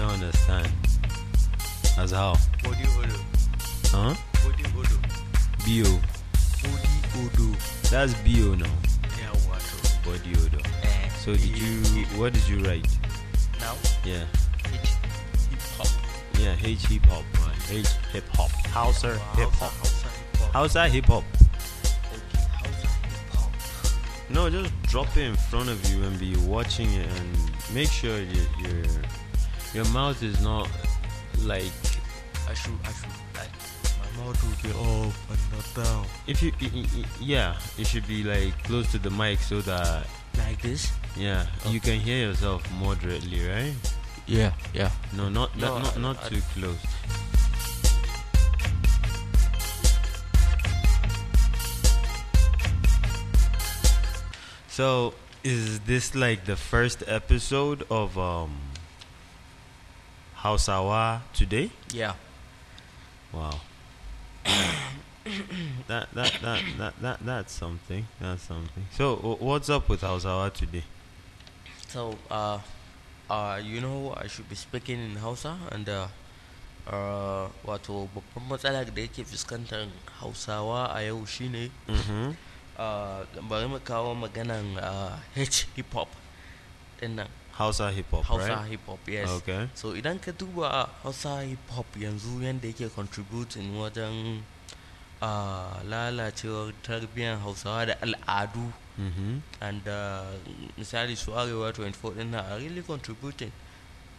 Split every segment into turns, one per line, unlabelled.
understand. As how?
Body Odo.
Huh?
Body Odo.
Bo.
Body Odo.
That's Bo now.
Yeah, water.
Body odor. Eh, So did you? What did you write?
Now,
Yeah.
it hip hop.
Yeah. H hip hop. right? H hip hop. Hauser hip hop.
Hausa hip hop.
Hausa hip hop.
Okay, Hausa hip hop.
No, just drop it in front of you and be watching it, and make sure your your, your mouth is not like
I should, I should, I, my mouth will be up and not down.
if you i- i- i- yeah, it should be like close to the mic so that
Like this?
yeah you can hear yourself moderately, right?
Yeah, yeah.
No, not not,
No, I-
not,
I-
not too close. So, is this like the first episode of um Hausawa today?
Yeah.
Wow. that, that that that that that's something. That's something. So, wh- what's up with Hausawa today?
So, uh, uh, you know, I should be speaking in Hausa and uh, uh, wato babban matsala da yake fuskantar Hausawa a yau shine
Mhm.
uh, bari mu kawo maganan uh, H hip hop din nan
Hausa hip hop,
Hausa
right?
hip hop yes.
Okay.
So idan ka duba Hausa hip hop yanzu yanda yake contributing wajen uh, lalacewar tarbiyyar Hausawa da al'adu
Mhm.
and uh, misali su arewa 24 din na are really contributing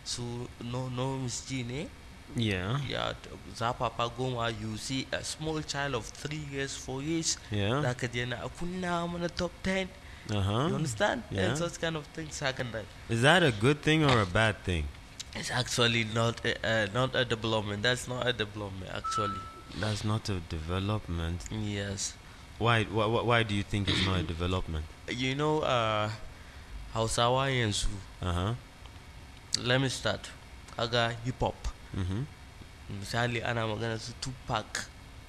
su no no misji ne
Yeah.
ya t- zafafa goma you see a small child of 3 years 4 years
Yeah.
zaka je na kunna mana top 10
Uh huh.
you understand
yeah.
and such kind of things hakan that
Is that a good thing or a bad thing?
it's actually not a, uh, not a development that's not a development actually
That's not a development.
yes
Why? Why? why- Why do you think it's not a development?
you know uh hausawa yanzu
Uh huh.
let me start kaga hip hop
Mhm.
misali ana magana su tupac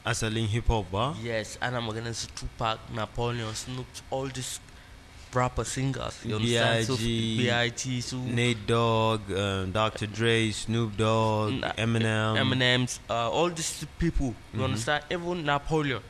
Asalin hip hop uh? ba?
Yes, ana maganin su Tupac, Napoleon, Snoop, all these rapper singers. You understand? So,
B.I.G.,
B.I.T. So
Nate Dogg, um, Dr. Dre, Snoop Dogg,
Na-
Eminem.
Eminem's, uh, all these people. You
Mhm.
understand? Even Napoleon.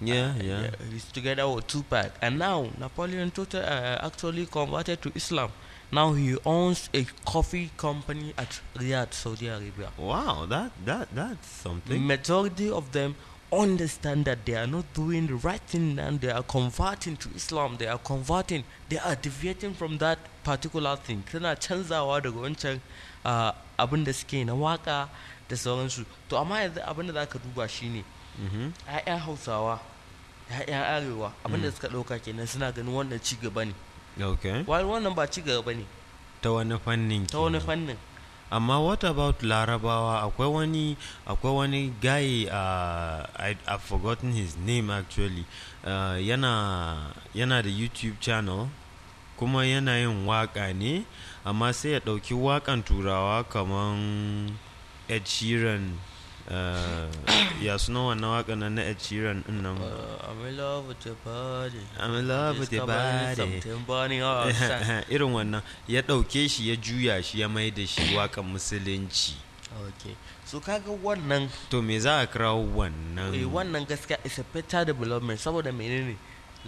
Yeah,
Ah,
yeah.
He's together with Tupac, and now Napoleon total uh, actually converted to Islam. Now he owns a coffee company at Riyadh, Saudi Arabia.
Wow, that that that's
The
something.
majority of them understand that they are not doing the right thing and they are converting to Islam. They are converting. They are deviating from that particular thing. Suna canzawa daga wancan uh, abin da suke na waka da sauransu. To amma yanzu abin da za ka duba shine
Mhm.
'ya'yan Hausawa, 'ya'yan Arewa, abin da
Mm.
suka ɗauka kenan suna ganin wannan ci gaba ne.
Okay.
Wal wannan ba ci gaba ne
Ta wani fannin
ta wani
kenan.
fannin.
amma what about larabawa akwai wani akwai wani guy uh, I, i've forgotten his name actually uh, yana yana da youtube channel kuma yana yin waka ne amma sai ya ɗauki wakan turawa kaman ed sheeran uh, ya suna wannan wakan nan na ed sheeran din nan
Uh, I'm in love with your body.
I'm in Mm. love with your
Discovering
body.
Something Oh, burning outside.
irin wannan ya ɗauke shi ya juya shi ya mai da shi wakan musulunci
okay so kaga wannan
to me za a kira wannan
eh, wannan gaskiya is a better development saboda menene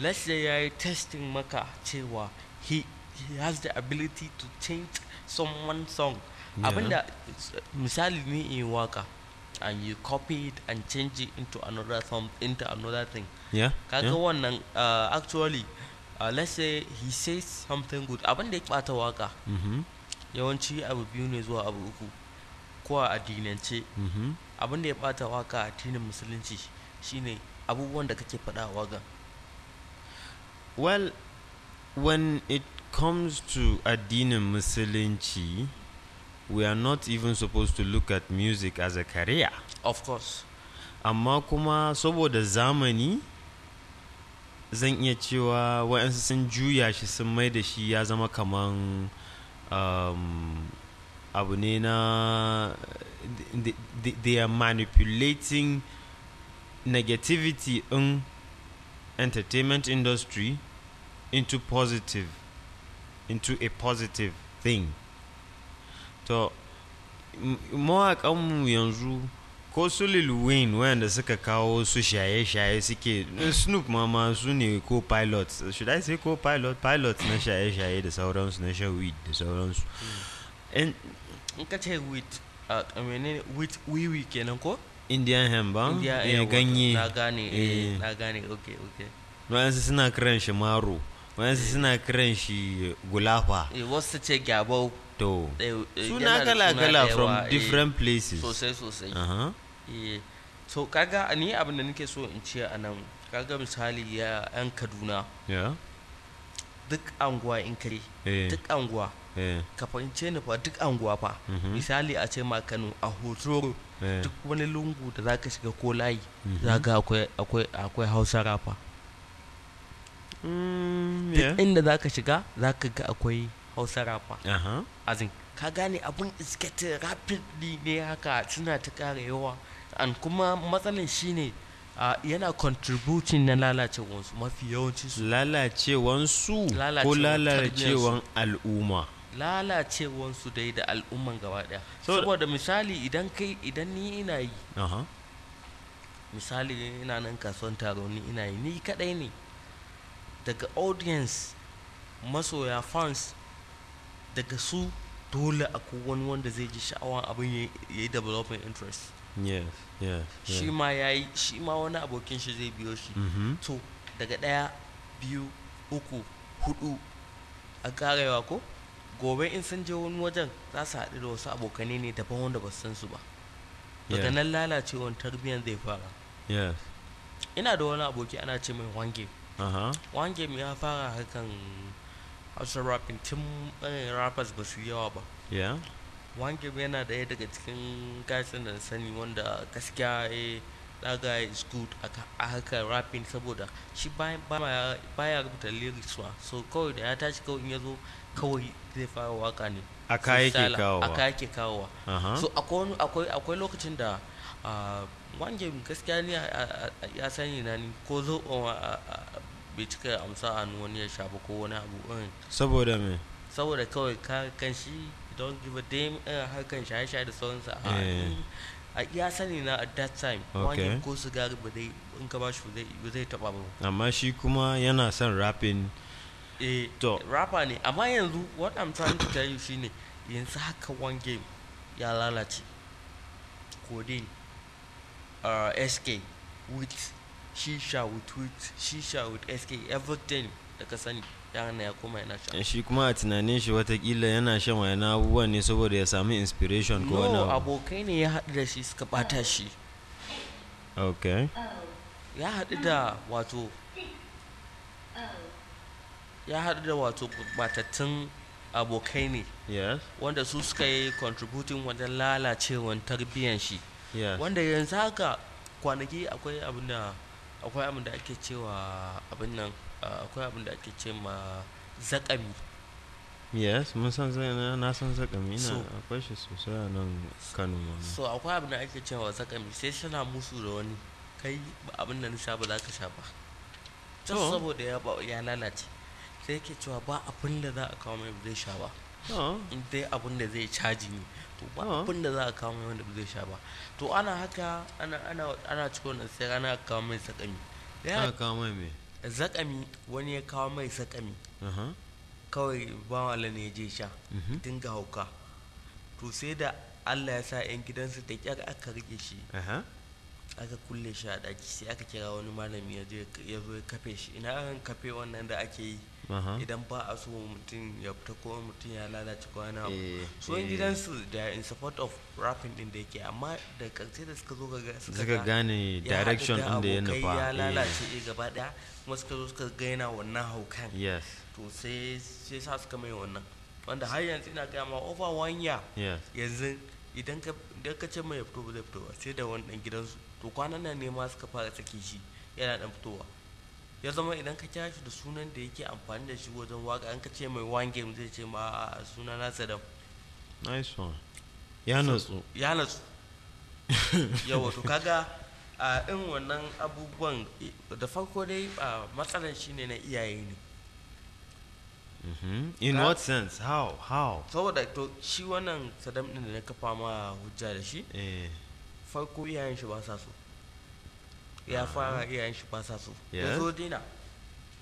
let's say yayi testing maka cewa he, he has the ability to change someone song
Yeah.
abinda it's, uh, misali ni in waka and you copy it and change it into another song into another thing
yeah
kaga
yeah.
wannan uh, actually uh, let's say he says something good abinda ya bata waka
Mhm,
yawanci abu biyu ne zuwa abu uku ko a addinance
mhm.
abin da ya bata waka a addinin musulunci shine abubuwan da kake faɗa a wagan
well when it comes to addinin musulunci we are not even supposed to look at music as a career
of course
amma kuma saboda zamani zan iya cewa waɗansu sun juya shi sun mai da shi ya zama kaman um, abu ne na they, they, they are manipulating negativity in entertainment industry into positive into a positive thing to m- mawaƙanmu yanzu ko su Lil Wayne wayanda suka kawo su shaye-shaye suke eh, Snoop ma ma su ne ko pilot should I say ko pilot pilot na shaye-shaye da sauransu na shan weed da sauransu
Hmm.
in
in ka ce with a menene with wiwi kenan ko
Indian hemp ba
India
Eh,
Air
ganye
na gane eh
Eh.
na gane okay okay
wayansu suna kiran shi maro wayansu suna kiran shi gulafa
eh wasu su ce gyabau
to
eh, eh, yana
suna
da suna
kala-kala
da
from
yawa, eh,
different places
sosai sosai
uh
eh so kaga ni abin da nake so in ce a nan kaga misali ya yan kaduna
yeah
duk anguwa in kare
Eh.
duk anguwa
eh
ka fahimce ni fa duk anguwa fa
Mhm.
misali a ce ma Kano a hotoro
Eh. Mhm.
duk wani lungu da zaka shiga ko layi zaka akwai akwai akwai Hausa rafa
mm, yeah
duk inda zaka shiga zaka ga akwai Hausa rafa
uh-huh
azin ka gane abun is getting rapidly ne haka suna ta ƙara yawa an kuma matsalan shine ah, yana contributing na lalacewarsu mafi yawancin su
lalacewansu ko
Lalacewan
lalacewan al'umma
lalacewarsu dai da al'umman gaba daya
So-
saboda misali idan kai idan ni ina yi
Aha.
misali ina nan kasuwan taro ni ina yi ni kadai ne daga audience masoya fans daga su dole akwai wani wanda zai ji sha'awan abin ya yi development interest
yes yes yes.
shi ma ya yi shi ma wani abokin shi zai biyo shi
Mhm.
to daga ɗaya biyu uku hudu a karewa ko gobe in sun je wani wajen za su haɗu da wasu abokanai ne daban wanda ba su san su ba daga
Yeah.
nan lalacewar tarbiyyar zai fara
yes
ina da wani aboki ana ce mai wange
Aha.
wange ya fara hakan hausa rapping tun ɓangaren rappers ba su yi yawa ba
yeah
wange yana ɗaya daga cikin gasin da na sani wanda gaskiya ya daga is good a ka- a haka rapping saboda shi bayan- baya baya rubuta lyrics ma so kawai da ya tashi kawai in ya zo kawai zai fara waka ne
Aka yake
Freestyle,
kawowa.
aka yake kawowa
Aha.
so akwai wani- akwai akwai lokacin da ah, wange gaskiya ne a- a- a- ya sani na ni ko zo a- a- a- bai cika amsa a hannun wani ya sha ba ko wani abu irin
saboda me
saboda kawai ka kan shi don give a damn uh, harkan shaye-shaye da sauransu a
Eh.
in- a iya sani na at that time
Okay.
wani ko sigari ba zai in ka bashi ba zai ba zai taba ba
amma shi kuma yana son rapping
eh
To.
rapper ne amma yanzu what i'm trying to tell you shine yanzu haka one game ya lalace codeine uh, sk with shisha with with shisha with sk everything da ka sani yaran nan ya koma yana sha
shi kuma a tunanin shi watakila yana shan wayan abubuwan ne saboda ya sami inspiration ko wani
no
abu
abokai ne ya haɗu da shi suka ɓata shi
okay
ya haɗu da wato ya haɗu da wato batattun abokai ne
yes
wanda su suka yi contributing wajen lalacewan tarbiyyan shi
yes
wanda yanzu haka kwanaki akwai abin da akwai abin da ake cewa abin nan uh, akwai abin da ake ce ma zakami
yes mun san zai na na san zaka mi
So-
na akwai shi sosai a nan Kano ma
so akwai abin da ake ce ma zakami sai suna musu da wani kai ba abin da na sha ba za ka sha ba just
To.
saboda ya ba- ya lalace sai yake cewa ba abin da za a kawo mai ba zai sha ba
oh
in dai abin da zai caji ne to ba
Oh.
abin da za a kawo mai wanda ba zai sha ba to ana haka ana ana ana cikin wannan sai ana kawo mai zakami Da ya-
aka kawo mai me
zakami wani ya kawo mai zakami
aha
kawai bawala ne ya je sha
Mhm.
dinga hauka to sai da Allah ya sa 'yan gidansu da kyar aka rike shi
aha
aka kulle shi a ɗaki sai aka kira wani malami ya zo ya zo ya kafe shi ina an kafe wannan da ake yi
aha
idan ba a so mutum ya fita ko mutum ya lalace ko wani abu
Eh,
so
eh.
in gidansu da in support of rapping din da yake amma da karshe da suka zo ga
Suka gane direction din da ya nufa,
ya
eh.
lalace eh, gaba daya kuma suka zo suka ga yana wannan haukan
Eh, yes
to sai sai sa suka mai wannan wanda har yanzu ina gaya ma over one year
yes
yanzu idan ka idan ka ce mai ya fito ba zai fito ba sai da wani dan gidansu to kwanan nan ne ma suka fara saki shi yana dan fitowa ya zama idan ka kira shi da sunan da yake amfani da shi wajen waka an ka ce mai one game zai ce ma a suna na sadam
nice one ya natsu
ya natsu yawa to kaga a in wannan abubuwan eh, da farko dai a matsalar shine na iyaye ne
Mhm. In
Ka-
what sense? How? How?
saboda to shi wannan sadam din da na kafa ma hujja da shi
Eh,
farko iyayen shi ba sa so ya fara iyayen shi ba sa so ya
Ah. Yes.
zo dina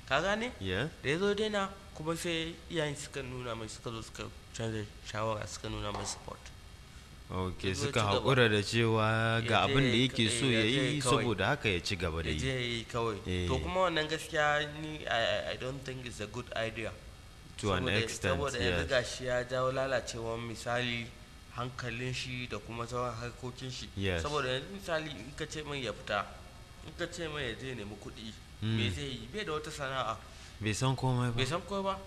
ka gane
yeah.
da ya zo dina kuma sai iyayen suka nuna mai suka zo suka canza shawara suka nuna mai support
Okay,
Ya zo ya
suka
ci gaba.
haƙura da cewa ga
Ya je
abin da
ya yi
yake
ka- eh,
so
ya
ya
je ya yi
yi
kawai.
saboda haka ya ci gaba da
ya je
yi.
ya yi kawai
Eh.
to kuma wannan gaskiya ni I- I- i don't think it's a good idea
To an
Saboda-
extent,
saboda yanzu
yes.
gashi ya jawo lalacewar misali hankalin shi da kuma sauran harkokin shi
Yes.
saboda yanzu misali in ka ce mai ya fita in ka ce mai ya je nemi kuɗi
Mm.
me zai yi bai da wata sana'a
Bai san komai
bai
ba.
san komai ba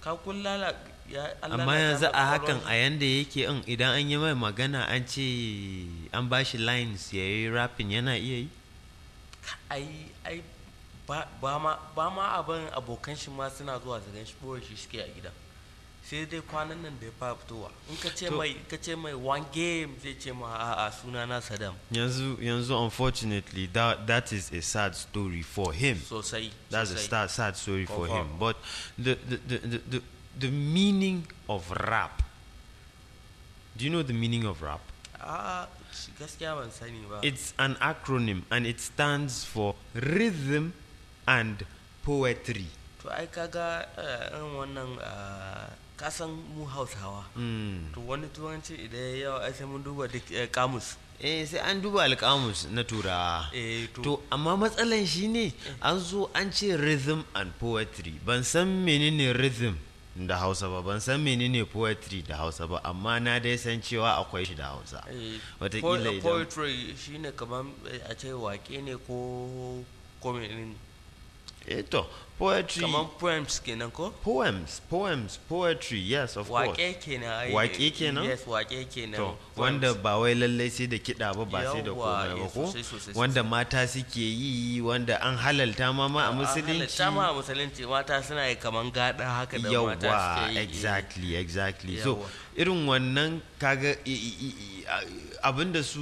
ka kun lala ya an
Amma
lalata
yanzu
mai
a hakan
kwakwalwar
a yanda yake in idan an yi mai magana an ce an ba shi lines ya yi rapping yana iya yi?
shi. ai ai ba ba ma ba ma abin abokan shi ma suna zuwa su gan shi ɓoye shi suke a gida sai dai kwanan nan da ya fara fitowa in ka ce
To-
mai in ka ce mai one game zai ce ma a'a suna na Saddam
Yanzu, yanzu unfortunately, that, that is a sad story for him.
sosai
That's a
sosai.
sad, sad story for
Confirm.
him. But the the, the, the, the the meaning of rap. Do you know the meaning of rap?
Ah, shi gaskiya ban sani ba.
It's an acronym and it stands for rhythm and poetry.
to ai kaga eh, irin wannan ah, kasan mu Hausawa.
Mm.
To wani turanci idan ya yawa ai sai mun duba duk eh, kamus.
Eh, sai an duba alƙamus na turawa.
Eh, to-
to amma matsalan shi ne an zo an ce rhythm and poetry ban san menene rhythm da hausa ba ban san menene poetry da hausa ba amma na dai san cewa akwai shi da hausa
Eh, po-
watakila idan-
poetry shine kamar eh, a ce wake ne ko ko menene.
eh to poetry
Kamar poems kenan ko?
poems poems poetry yes of course
Wake kenan. ai,
Waƙe
eh,
kenan?
Yes, wake kenan.
to
Poems.
wanda ba wai lallai sai da kiɗa ba ba sai da
Yawwa,
komai ba
eh,
ko
sosai, sosai,
wanda mata suke yi wanda an halalta ma ma a musulunci
halatta ma a musulunci mata suna yi kaman gada haka da mata
yawa
suke yi.
exactly exactly so
Yawwa.
irin wannan kaga i- i- i- i- a- abinda su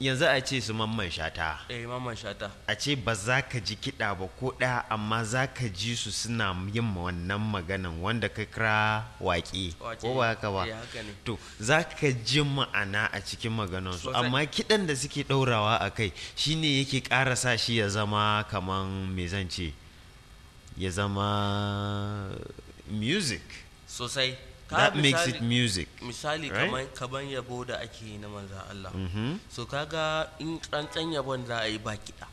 yanzu a ce su mamman shata
Eh, Mamman Shata.
a ce ba za ka ji kiɗa ba ko ɗaya amma za ka ji su suna yin wannan maganan wanda ka kira waƙe
Waƙe,
ko ba haka ba
eh, haka ne.
to za ka ji ma'ana a cikin maganansu
Sosai.
amma kiɗan da suke ɗaurawa a kai shine yake ƙara sa shi ya zama kaman me zan ce ya zama music
sosai
that
Kaga
makes
misali-
it music
misali
right?
kaman kaman yabo da ake yi na manzan Allah
Mhm.
so kaga in tsantsan yabon za a yi ba kiɗa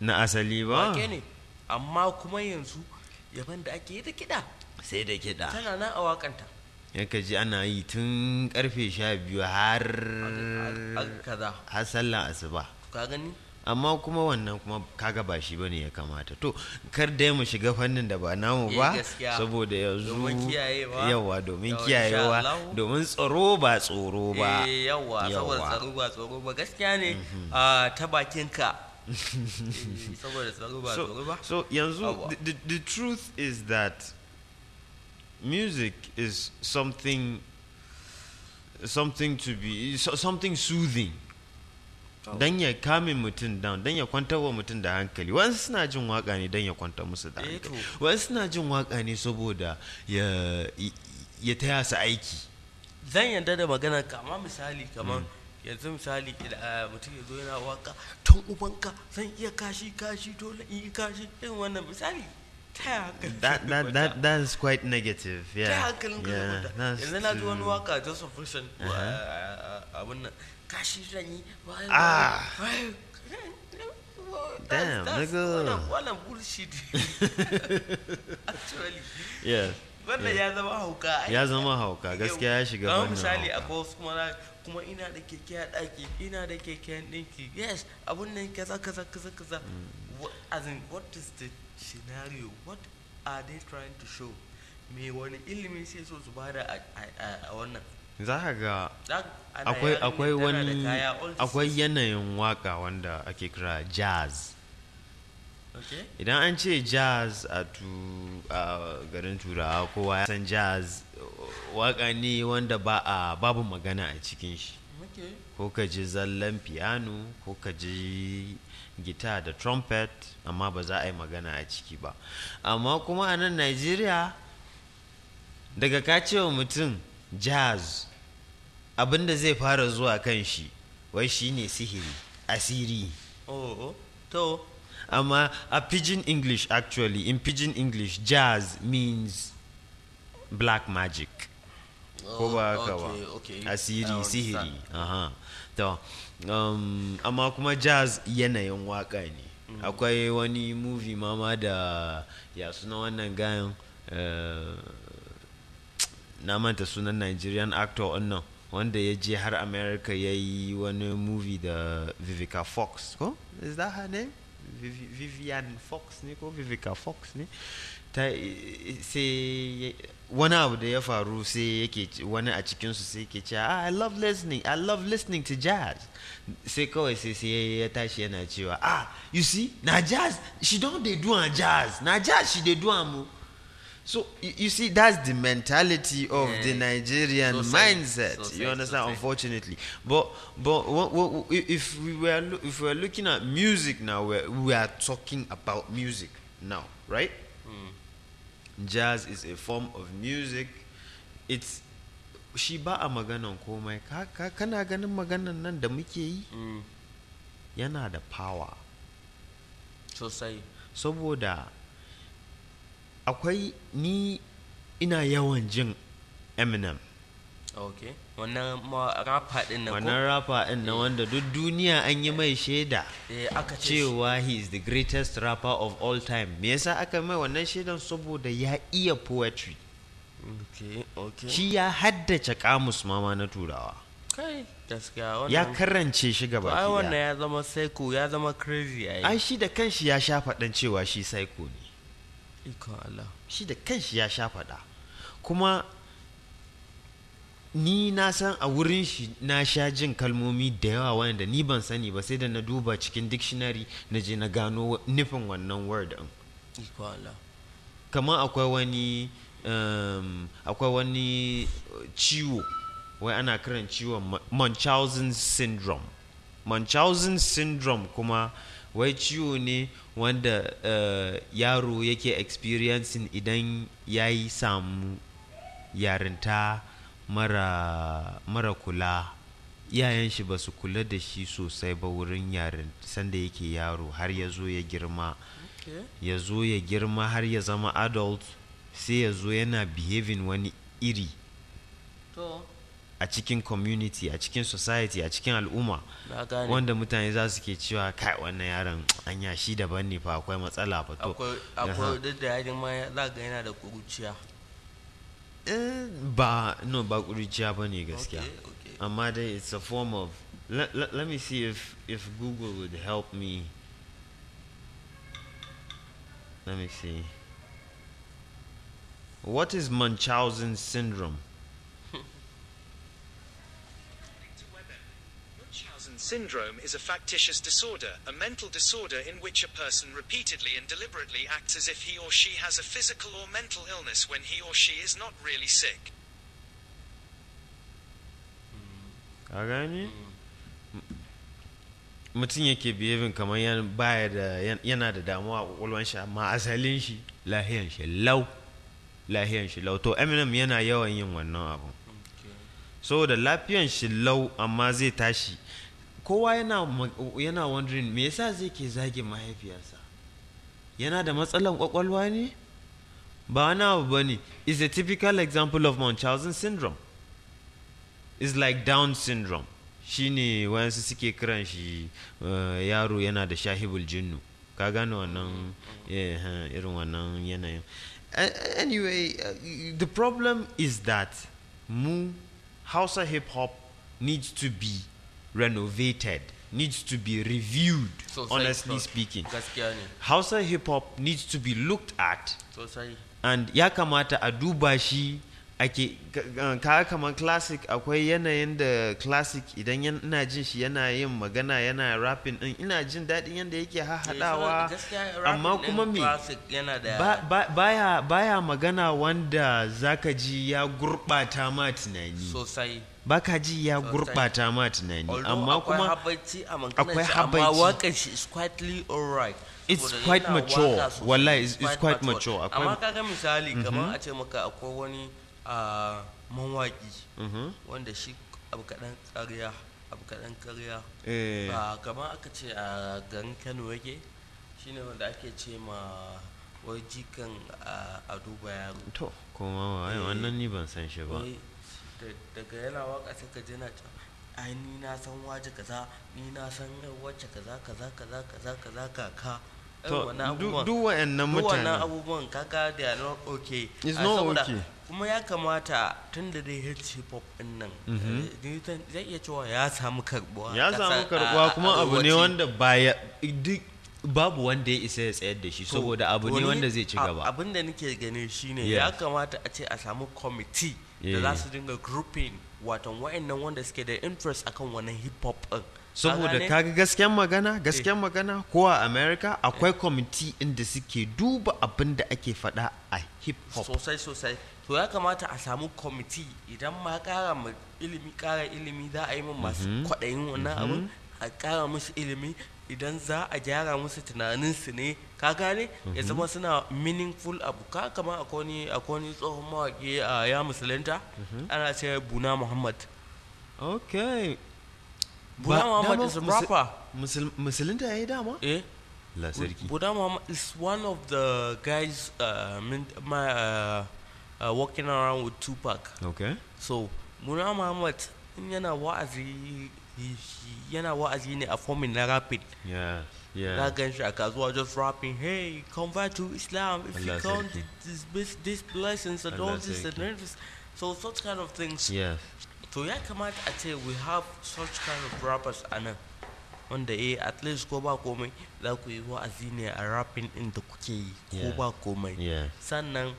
na asali ba
wake ne amma kuma yanzu yabon da ake yi da kiɗa
sai da kiɗa
tana nan a wakanta
yanka ji ana yi tun karfe sha biyu har
a kaza
har sallah asuba
ka gani
amma kuma wannan kuma kaga ba shi bane ya kamata to kar dai mu shiga fannin da ba namu ba
Eh, gaskiya.
saboda yanzu
Domin kiyayewa.
yawa domin
Yawa,
kiyayewa
insha Allah.
domin tsaro ba tsoro ba Mm-hmm.
eh yawa saboda
Yawa.
tsaro ba tsoro ba gaskiya ne a ta bakin ka Eh, saboda tsaro ba
so,
tsoro ba
so yanzu
Yawa.
the, the, the truth is that music is something something to be so, something soothing
Oh.
dan ya kame mutum down dan ya kwantar wa mutum da hankali wasu suna jin waka ne dan ya kwantar musu da
Eh,
hankali
to.
wasu suna jin waka ne saboda ya ya taya su aiki
zan yarda da magana kama misali kamar yanzu misali idan ah, mutum ya zo yana waka ton ubanka zan iya kashi kashi dole in yi kashi irin wannan misali ta ya hankalin
that that that that is quite negative
ta ya
yeah
hankalin ka zai
yeah
kwanta?
that's Uh-huh.
yanzu na ji wani
too-
waka joseph russian abin nan kashi zan yi bayan-
Ah.
bayan-
Damn,
that's- that's-
nigga.
wannan- wannan bullshit actually
yeah
wannan ya zama hauka ai.
Ya zama hauka, gaskiya ya shiga
Kamar
fannin
misali
hauka.
akwai wasu kuma na kuma ina da keke a ɗaki ina da keken ɗinki yes abun nan kaza kaza kaza kaza
Mm.
Wha- as in what is the scenario what are they trying to show me wani ilimi sai so su bada a- a- a- a wannan
za ka ga
Za- ana
akwai
yarinya
akwai
tana da
wani
kaya, all this
akwai yanayin waka wanda ake kira jazz
is- okay
idan an ce jazz a tu a garin turawa kowa ya san jazz waka ne wanda ba a babu magana a cikin shi
okay
ko ka ji zallan piano ko ka ji gita da trumpet amma ba za a yi magana a ciki ba amma kuma a nan nigeria daga ka cewa mutum jazz abinda zai fara zuwa kan shi wai shine sihiri asiri
oh to
amma a pidgin english actually in pidgin english jazz means black magic
Oh,
ko ba haka ba asiri sihiri aha to um, amma kuma jazz yanayin waka ne akwai wani movie mama da ya suna wannan gayan eh, na manta sunan nigerian actor wannan wanda ya je har america ya yi wani movie da vivica fox ko is that her name Vivi- vivian fox ne ko vivica fox ne ta sai ya- wani abu da ya faru sai yake ce- wani a cikinsu sai yake cewa "Ah, i love listening i love listening to jazz sai kawai sai sai ya- ya tashi yana cewa ah you see na jazz she don dey do am jazz na jazz she dey do am o So you, you see, that's the mentality of the
Yeah.
Nigerian
Society-
mindset.
society-
you understand?
society.
Unfortunately, but but what, what, what- i- if we were lo- if we are looking at music now, we're, we are talking about music now, right? Jazz is a form of music. It's shi ba a maganan komai ka ka- kana ganin maganan nan da muke yi
mm.
yana da power
sosai
saboda akwai ni ina yawan jin eminem
okay wannan ma rapper din nan
wannan
ko
rapper ɗin na wanda duk duniya an yi mai shaida
eh aka ce shi-
cewa he is the greatest rapper of all time me yasa aka mai wannan shaidan saboda ya iya poetry
okay okay
shi ya haddace kamus mama na turawa
kai gaskiya wannan
ya karance shi
to ai
gaba
wannan ya zama psycho ya zama crazy ai
ai shi da kanshi ya sha faɗan cewa shi psycho ne
ikon Allah
shi da kanshi ya sha faɗa kuma ni na san a wurin shi na sha jin kalmomi da yawa wanda ni ban sani ba sai da na duba cikin dictionary na je na gano wa- nufin wannan word din
ikon Allah
kamar akwai wani um, akwai wani uh, ciwo wai ana kiran ciwon Mu- munchausen syndrome munchausen syndrome kuma wai ciwo ne wanda uh, yaro yake experiencing idan ya yi samu yarinta mara, mara kula iyayen shi ba su kula da shi sosai ba wurin yarin sanda yake yaro har ya zo ya girma
okay
ya zo ya girma har ya zama adult sai ya zo yana behaving wani iri
to
a cikin community a cikin society a cikin al'umma
na gane
wanda mutane za su ke cewa kai wannan yaron anya shi daban ne fa akwai matsala fa to
akwai
Aha.
akwai duk da yadin ma ya- za ga yana da kuruciya
Eh, ba no ba kuriciya ba ne gaskiya Ah.
Okay, okay.
amma dai it's a form of let, let, let me see if if google would help me let me see what is munchausen syndrome
To Weber. Munchausen syndrome is a factitious disorder, a mental disorder in which a person repeatedly and deliberately acts as if he or she has a physical or mental illness when he or she is not really sick.
ka gane mutum yake behaving kamar yan- baya da yan- yana da damuwa a kwakwalwan shi amma asalin shi lahiyan shi lau lahiyan shi lau to eminem yana yawan yin wannan abu saboda lafiyan shi lau amma zai tashi kowa yana ma- yana wondering me yasa zai ke zage mahaifiyarsa yana da matsalan kwakwalwa ne ba wani abu ba ne is a typical example of munchausen syndrome is like down syndrome shine wayansu suke kiran shi uh, yaro yana da shahibul jinnu ka gane wannan eh, ha, irin wannan yanayin A- anyway uh, the problem is that mu hausa hip hop needs to be renovated needs to be reviewed
Sosai,
honestly
sosai.
speaking
gaskiya ne
hausa hip hop needs to be looked at
sosai
and ya kamata a duba shi ake eh, ka kamar classic akwai yanayin da classic idan yan- ina jin shi yana yin magana yana rapping din ina jin daɗin yadda yake haɗawa
Eh, Gaskiya
amma
rapping
kuma
ɗin
me
classic yana da
ba- ba- baya baya magana wanda zaka ji ya gurɓata ma tunani
sosai
baka ji ya
Sometimes.
gurɓata ma tunani
Although
amma
akwai
kuma
habaici a
akwai
maganarsa, amma
habaici.
waƙar shi is quietly alright
It's
Saboda
quite
yana
mature.
waƙa sosai,
Wallahi, it's- it's quite mature. Akwai- Mhm.
amma kaga misali kamar a ce maka akwai wani ah,
Mm.
mawaƙi
Mhm.
wanda shi abu kaɗan ƙarya abu kaɗan ƙarya
eh,
ba kamar Ah, aka ce a garin kano yake shine wanda ake ce ma wai jikan ah, ado bayero
to kuma
Eh.
wa- wannan ni ban san shi ba
Wai Eh, da- daga yana waka sai ka ji yana cewa ai ni na san waje kaza ni na san yar wacce kaza kaza kaza kaza kaza kaka
to
irin wannan
du-
abubuwan
duk wa'annan
duk wannan
mutanen
abubuwan kaga they are not okay
It's
Ah,
not
saboda
okay.
kuma ya kamata tun da dai hit hip hop din nan eh, ni zan- zai iya cewa ya samu karbuwa
Mm-hmm. ya samu karbuwa kuma abu ne wanda baya duk babu wanda ya isa ya tsayar da shi saboda abu ne wanda zai ci gaba
abin da nake gani shine
Yeah.
ya kamata a ce a samu kwamiti da
Yeah.
za su dinga grouping watan wa'annan wanda suke da interest akan wannan hip hop din
saboda
gane? Eh.
kaga gasken magana gasken magana ko a america akwai kwamiti inda suke duba abin da ake faɗa a hip hop
sosai sosai to ya kamata a samu kwamiti idan ma kara ma ilimi kara ilimi za a yi min masu
Mm-hmm.
kwaɗayin wannan abin a kara musu ilimi idan za a gyara musu tunaninsu ne ka gane ya
Mm-hmm.
zama suna meaningful abu ka kama akwai wani- akwai wani tsohon mawaƙi a ya musulunta
Mm-hmm.
ana ce buna muhammad
okay
buna
Ba-
muhammad
dama
is a
musul-
rapper
musul- musulunta ya yi dama
eh
la sarki
Buddha Muhammad is one of the guys uh, min- my, uh, uh, walking around with Tupac.
okay
So Muna Muhammad in yana wa'azi he- he- yana wa'azi ne a formin na rapid.
yeah yeah
Na gan shi a kasuwa just rapping, hey, convert to Islam if
Allah
you count
sarki.
this, this, these blessings and
Allah
all this and
sarki.
all this. So such kind of things.
yeah
To ya kamata a ce we have such kind of rappers a nan wanda eh at least ko ba komai za ku yi wa'azi ne a rapping din da kuke yi ko
Yeah.
ba komai.
yeah
sannan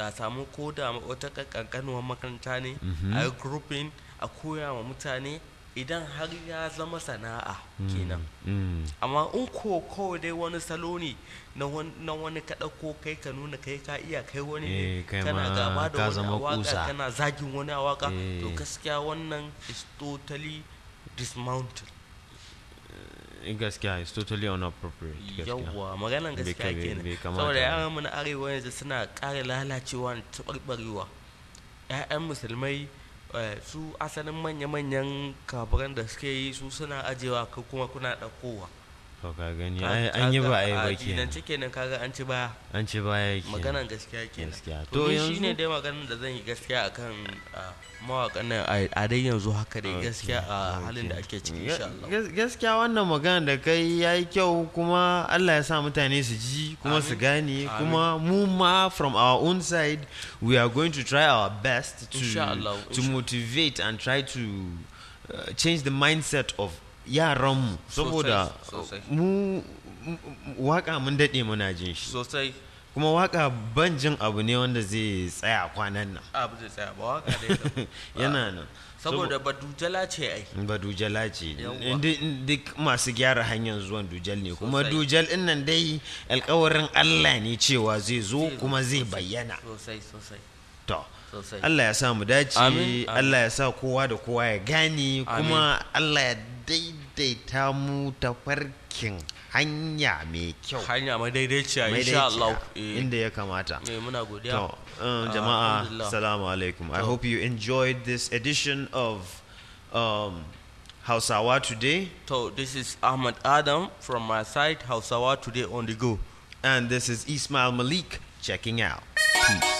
a samu ko da wata kankanuwar makaranta ne
Mhm.
a yi grouping a koya wa mutane idan har ya zama sana'a kenan
mm.
amma in ko kawai dai wani salo ne na wan- na wani ka ɗauko kai ka nuna kai ka iya kai wani
Eh,
ne
kai
kana
ma
gaba da
ka
wani
zama
a waka
kusa.
kana zagin wani a waka to
Eh.
gaskiya wannan is totally dismounted
Eh, gaskiya it's totally inappropriate gaskiya
yawwa maganan
Bai
gaskiya
kai- bai-
kenan
bai kamata
saboda
ba.
yaran mu na arewa yanzu suna ƙara lalacewa da taɓarɓarewa ƴaƴan musulmai eh, su asalin manya-manyan kafiran da suke yi su suna ajewa ko kuma kuna ɗaukowa
to ka gani ai- an yi ba a yi ba kenan
kenan kenan kaga an ci baya
an ci baya kenan
maganan gaskiya kenan
Gaskiya.
to
To
ni
yanzu-
shine dai maganan da zan yi gaskiya akan ah, mawaƙan nan a a dai yanzu haka dai gaskiya a halin da ake ciki
Ga-
insha Allah
gas- gaskiya wannan magana da kai ya yi kyau kuma allah ya sa mutane su ji kuma su
Amin.
gane
Amin.
kuma mu ma from our own side we are going to try our best to,
Insha Allah,
to
insha-
motivate and try to uh, change the mindset of yaranmu saboda
sosai.
mu mu- waka mun daɗe muna jin shi
sosai
kuma waka ban jin abu ne wanda zai tsaya kwanan nan
abu zai tsaya ba waka dai kam.
yana nan
saboda badujala ce ai
ba dujala ce
Yawwa.
Duk- duk masu gyara hanyar zuwan dujal ne kuma
Sosai.
dujal din nan dai alkawarin allah ne cewa zai zo
Zai zo
kuma zai bayyana
sosai sosai
to
sosai
allah ya sa mu dace
Amin, amin.
allah ya sa kowa da kowa ya gane kuma allah ya daidaita mu ta farkin hanya mai kyau
hanya madaidaiciya insha
madaidaiciya,
Allah eh
inda ya kamata
eh, muna godiya Ah,
To, um, jama'a, assalamu alaikum. I hope you enjoyed this edition of um, Hausawa Today.
to this is Ahmad Adam from my side Hausawa today on the go
And this is Ismail Malik checking out. Peace.